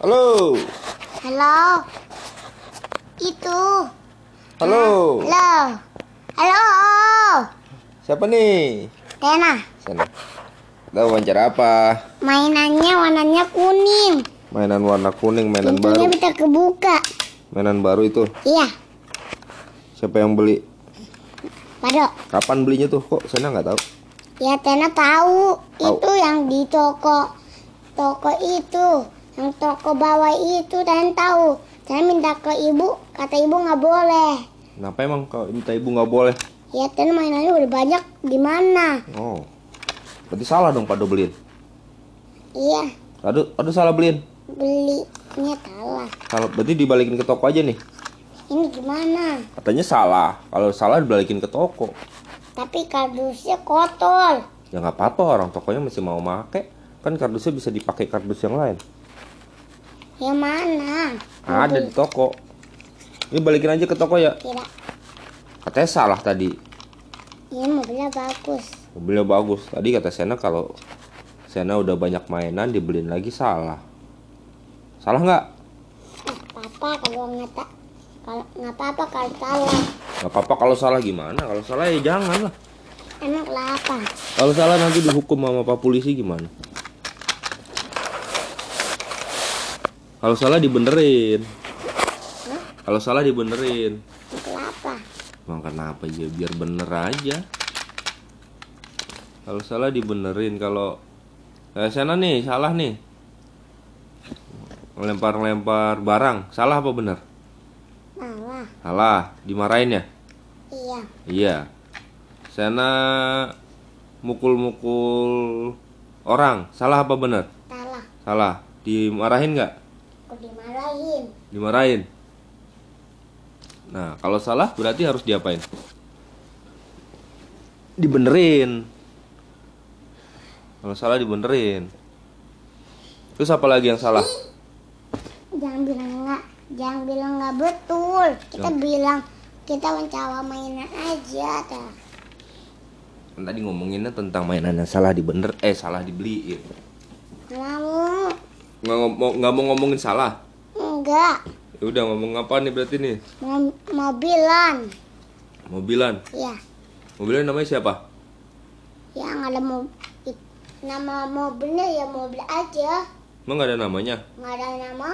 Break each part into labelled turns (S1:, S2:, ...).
S1: Halo.
S2: Halo. Itu.
S1: Oh. Halo.
S2: Halo. Halo.
S1: Siapa nih?
S2: Tena,
S1: Sana. Kita wawancara apa?
S2: mainannya warnanya kuning.
S1: Mainan warna kuning, mainan
S2: Pintunya
S1: baru.
S2: bisa kebuka.
S1: Mainan baru itu.
S2: Iya,
S1: Siapa yang beli?
S2: Pado.
S1: Kapan belinya tuh? Kok sana nggak tahu?
S2: Ya Tena tahu.
S1: Tahu.
S2: Itu yang di toko toko itu, yang toko bawah itu Tena tahu. Tena minta ke ibu, kata ibu nggak boleh.
S1: Kenapa emang kalau minta ibu nggak boleh?
S2: Ya Tena mainannya udah banyak di mana?
S1: Oh. Berarti salah dong pada beliin.
S2: Iya,
S1: Aduh, aduh salah beliin.
S2: belinya salah.
S1: Kalau berarti dibalikin ke toko aja nih.
S2: Ini gimana?
S1: Katanya salah. Kalau salah dibalikin ke toko.
S2: Tapi kardusnya kotor.
S1: Ya nggak apa-apa orang tokonya masih mau make. Kan kardusnya bisa dipakai kardus yang lain.
S2: Yang mana?
S1: Ada di toko. Ini balikin aja ke toko ya.
S2: Tidak.
S1: Katanya salah tadi.
S2: Ini mobilnya bagus.
S1: Mobilnya bagus. Tadi kata Sena kalau Sena udah banyak mainan dibeliin lagi salah. Salah nggak?
S2: Eh, papa kalau nggak tak kalau nggak apa-apa kalau salah.
S1: Nggak apa-apa kalau salah gimana? Kalau salah ya jangan lah.
S2: Emang kenapa?
S1: Kalau salah nanti dihukum sama pak polisi gimana? Kalau salah dibenerin. Kalau salah dibenerin.
S2: Emang Kenapa?
S1: Emang kenapa ya biar bener aja. Kalau salah dibenerin kalau eh, sana nih salah nih. Lempar-lempar barang, salah apa bener?
S2: Salah.
S1: Salah, dimarahin ya?
S2: Iya.
S1: Iya. Sana mukul-mukul orang, salah apa bener?
S2: Salah.
S1: Salah. Dimarahin nggak?
S2: Aku dimarahin.
S1: Dimarahin. Nah, kalau salah berarti harus diapain? Dibenerin. Kalau salah dibenerin. Terus apa lagi yang salah?
S2: Jangan bilang nggak. Jangan bilang nggak betul. Kita bilang kita mencoba mainan aja. Dah.
S1: Kan Tadi ngomonginnya tentang mainan yang salah dibener eh salah dibeliin.
S2: Nggak mau.
S1: Nggak ngomong nggak mau ngomongin salah.
S2: Enggak.
S1: Ya udah ngomong apa nih berarti nih?
S2: Mau mobilan.
S1: Mobilan.
S2: Iya.
S1: Mobilan namanya siapa?
S2: Yang ada mobil. Nama mobilnya ya mobil aja.
S1: Emang nggak ada namanya?
S2: Nggak ada nama?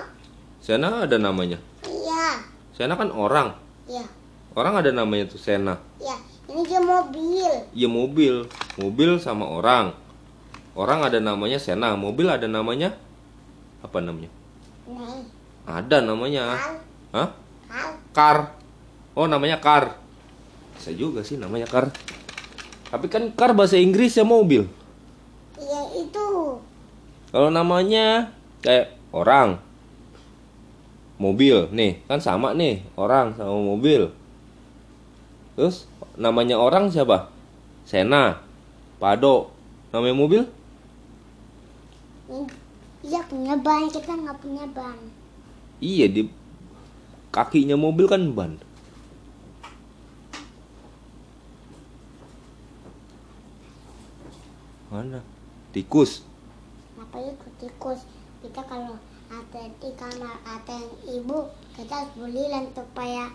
S1: Sena ada namanya.
S2: Iya.
S1: Sena kan orang.
S2: Iya.
S1: Orang ada namanya tuh Sena.
S2: Iya. Ini dia mobil.
S1: Iya mobil, mobil sama orang. Orang ada namanya Sena, mobil ada namanya apa namanya?
S2: Nih.
S1: Ada namanya.
S2: Kan.
S1: Hah?
S2: Kan.
S1: Kar. Oh namanya kar. Bisa juga sih namanya kar. Tapi kan kar bahasa Inggris ya mobil.
S2: Iya itu.
S1: Kalau namanya kayak orang, mobil nih kan sama nih orang sama mobil. Terus namanya orang siapa? Sena, Pado. Namanya mobil?
S2: Ini- Iya punya ban. Kita nggak punya ban.
S1: Iya di kakinya mobil kan ban. Mana? Tikus.
S2: Kenapa ikut tikus? Kita kalau ada di kamar ada yang ibu kita harus bulilan supaya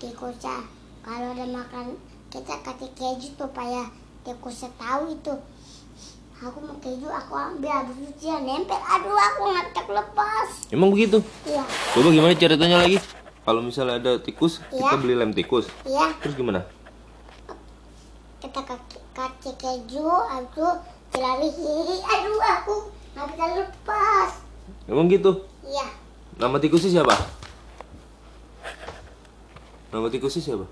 S2: tikusnya kalau ada makan kita kasih keju supaya tikusnya tahu itu aku mau keju aku ambil habis itu dia nempel aduh aku ngacak lepas
S1: Emang begitu?
S2: iya
S1: Coba gimana ceritanya lagi? Kalau misalnya ada tikus, kita
S2: Iya.
S1: beli lem tikus.
S2: iya
S1: Terus gimana?
S2: kita kaki kaki keju aku lari hihi aduh aku nggak bisa lepas
S1: Emang gitu?
S2: iya
S1: Nama tikusnya siapa? Nama tikusnya siapa?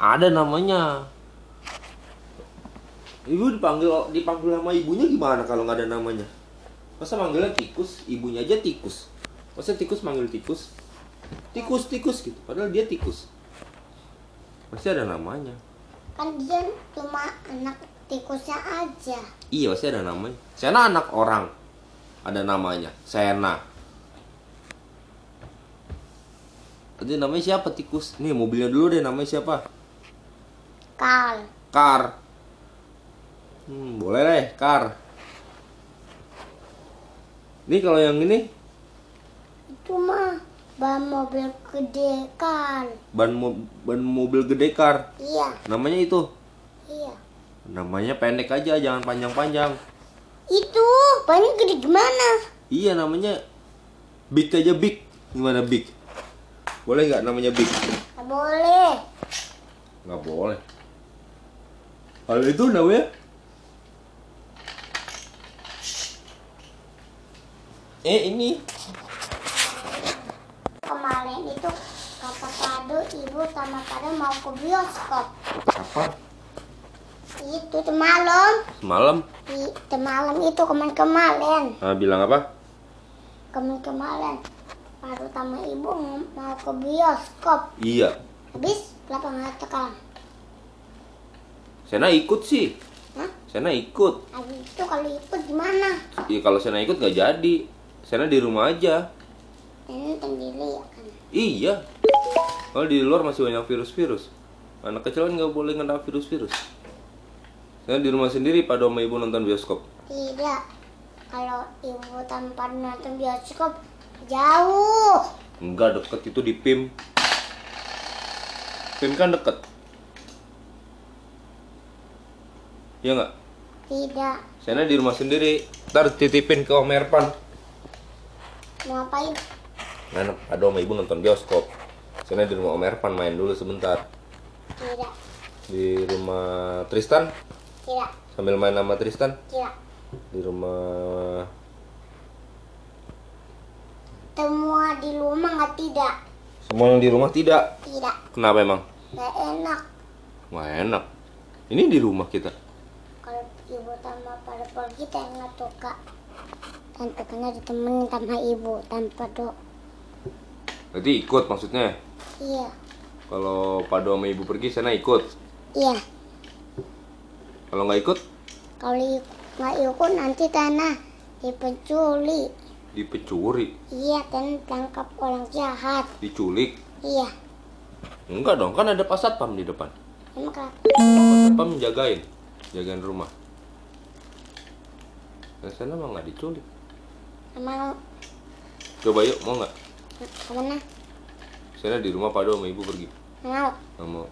S1: Ada namanya. Ibu dipanggil dipanggil sama ibunya gimana kalau nggak ada namanya? Masa manggilnya tikus, ibunya aja tikus. Masa tikus manggil tikus? Tikus, tikus gitu. Padahal dia tikus. Pasti ada namanya.
S2: kan dia cuma anak tikusnya aja
S1: Iya pasti ada namanya. Sena anak orang. Ada namanya. Sena. Jadi namanya siapa tikus? Nih mobilnya dulu deh namanya siapa?
S2: kal
S1: Kar. Hmm, boleh deh, Kar. Ini kalau yang ini
S2: Itu mah ban mobil gede kan.
S1: ban mo- ban mobil gede kar.
S2: Iya,
S1: Namanya itu.
S2: iya.
S1: Namanya pendek aja, jangan panjang-panjang.
S2: Itu banyak gede gimana?
S1: Iya namanya Big aja Big. Gimana Big? Boleh nggak namanya Big?
S2: Nggak boleh.
S1: Nggak boleh. Kalau itu ya? namanya? Eh ini
S2: Kemarin itu kata Kado, ibu sama Kado mau ke bioskop.
S1: apa?
S2: Itu semalam,
S1: Semalam?
S2: i- semalam itu kemarin kemarin,
S1: Ah, bilang apa?
S2: kemarin kemarin. Baru sama ibu ng- mau ke bioskop.
S1: Iya.
S2: Habis berapa mengatakan?
S1: Sena ikut sih.
S2: Hah?
S1: Sena ikut.
S2: Habis itu kalau ikut gimana?
S1: Ya kalau Sena ikut nggak jadi. Sena di rumah aja.
S2: Ini sendiri ya kan?
S1: Iya. Kalau di luar masih banyak virus-virus. Anak kecil kan nggak boleh kena virus-virus. Saya di rumah sendiri pada sama ibu nonton bioskop.
S2: Tidak. Kalau ibu tanpa nonton bioskop jauh.
S1: Enggak deket itu di PIM. PIM kan deket. Iya nggak?
S2: Tidak.
S1: Saya di rumah sendiri. Ntar titipin ke Om Erpan.
S2: Mau ngapain?
S1: Nah, ada sama ibu nonton bioskop. Saya di rumah Om Erpan main dulu sebentar.
S2: Tidak.
S1: Di rumah Tristan
S2: Tidak.
S1: sambil main sama Tristan
S2: Tidak.
S1: di rumah
S2: Semua di rumah nggak tidak.
S1: Semua yang di rumah tidak.
S2: Tidak.
S1: Kenapa emang?
S2: Nggak enak.
S1: Wah enak. Ini di rumah kita.
S2: Kalau ibu sama pada pergi tak enak tuh kak. Tante kena ditemenin sama ibu tanpa dok.
S1: Berarti ikut maksudnya.
S2: Iya.
S1: Kalau Pado sama ibu pergi, sana ikut.
S2: Iya.
S1: Kalau nggak ikut,
S2: Kalau i- nggak ikut nanti tanah dipencuri.
S1: dipecuri,
S2: Iya, dan tangkap orang jahat.
S1: diculik.
S2: Iya.
S1: Enggak dong, kan ada Pak Satpam di depan.
S2: Emang kak.
S1: Pak Satpam jagain, jagain rumah. Nah, sana mah nggak diculik.
S2: Mau
S1: Coba yuk, mau nggak?
S2: kemana?
S1: Sana di rumah Pado sama ibu pergi.
S2: Mau.
S1: Nggak mau.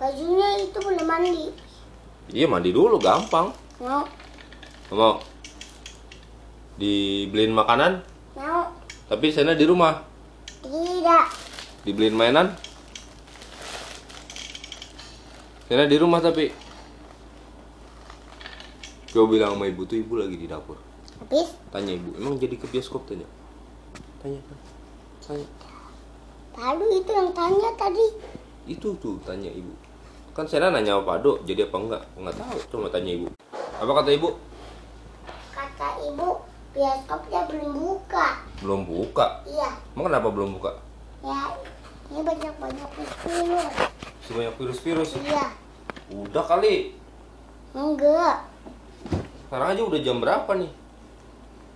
S2: Bajunya itu belum mandi.
S1: Iya mandi dulu, gampang.
S2: Mau.
S1: Nggak mau. Dibeliin makanan,
S2: Mau.
S1: tapi sana di rumah.
S2: Tidak.
S1: Dibeliin mainan? Karena di rumah tapi Coba bilang sama ibu tuh ibu lagi di dapur
S2: Habis.
S1: Tanya ibu, emang jadi ke bioskop tanya? Tanya, tanya
S2: Lalu itu yang tanya tadi.
S1: Itu tuh tanya ibu Kan saya nanya sama Pak Do, jadi apa enggak? Enggak tahu, cuma tanya ibu Apa kata ibu?
S2: Kata ibu, bioskopnya belum buka.
S1: Belum buka
S2: Iya.
S1: Emang kenapa belum buka?
S2: Ya, ini banyak-banyak virus.
S1: Sebanyak virus-virus
S2: Iya.
S1: Udah kali
S2: Enggak.
S1: Sekarang aja udah jam berapa nih?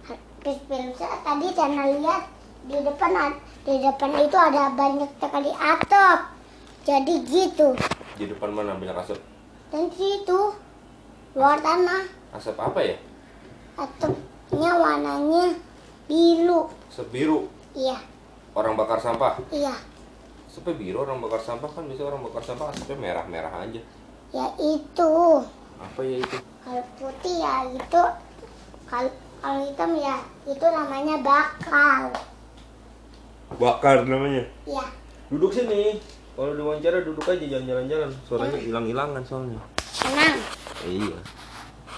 S2: Habis virusnya tadi saya lihat di depan ad- di depan itu ada banyak sekali atap. Jadi gitu.
S1: Di depan mana banyak asap?
S2: Dan situ luar tanah
S1: Asap apa ya?
S2: atapnya warnanya biru.
S1: Asap biru
S2: Iya,
S1: Orang bakar sampah
S2: iya.
S1: Sampai biru orang bakar sampah kan biasa orang bakar sampah asapnya merah-merah aja.
S2: Ya itu.
S1: Apa ya itu?
S2: Kalau putih ya itu. Kalau kalau hitam ya itu namanya bakal.
S1: Bakar namanya.
S2: Iya.
S1: Duduk sini. Kalau diwawancara duduk aja jangan jalan-jalan. Suaranya hilang-hilangan soalnya.
S2: Senang.
S1: Iya.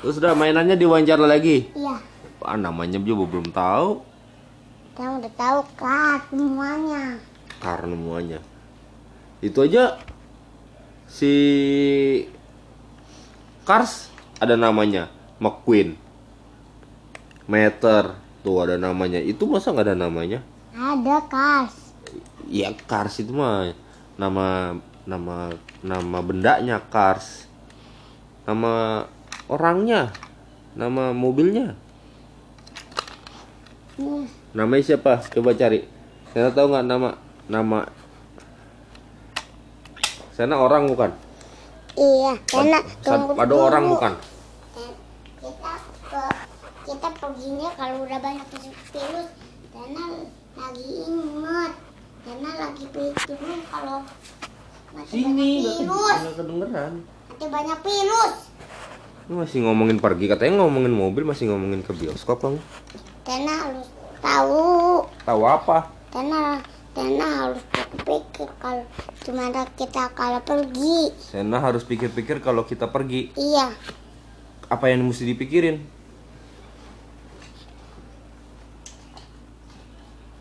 S1: Terus udah mainannya diwawancara lagi.
S2: Iya.
S1: Apa namanya juga belum tahu
S2: Kita udah tahu kan semuanya.
S1: karena semuanya. Itu aja si Kars ada namanya McQueen. Meter tuh ada namanya. Itu masa nggak ada namanya?
S2: Ada kas.
S1: ya Kars itu mah nama nama nama bendanya Kars nama orangnya nama mobilnya
S2: Hmm,
S1: namanya siapa coba cari saya tahu nggak nama nama sana orang bukan
S2: Iya, enak.
S1: Sana-
S2: Tunggu
S1: ada
S2: dulu.
S1: orang bukan
S2: Dan Kita ke kita perginya kalau udah banyak virus karena lagi imut karena lagi pikir kalau masih
S1: Sini,
S2: banyak
S1: nggak
S2: virus
S1: nggak kedengeran.
S2: nanti banyak virus
S1: Lu masih ngomongin pergi, katanya ngomongin mobil masih ngomongin ke bioskop kamu.
S2: karena harus tahu
S1: Tahu apa?
S2: karena karena harus pikir kalau gimana kita kalau pergi
S1: Sena harus pikir-pikir kalau kita pergi
S2: iya
S1: apa yang mesti dipikirin.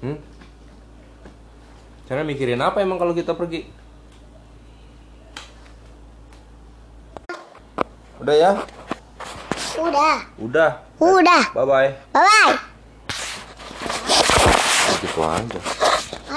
S1: Hmm? Sena mikirin apa emang kalau kita pergi? Udah ya?
S2: udah
S1: Udah.
S2: udah
S1: Bye bye.
S2: bye bye
S1: Gitu aja.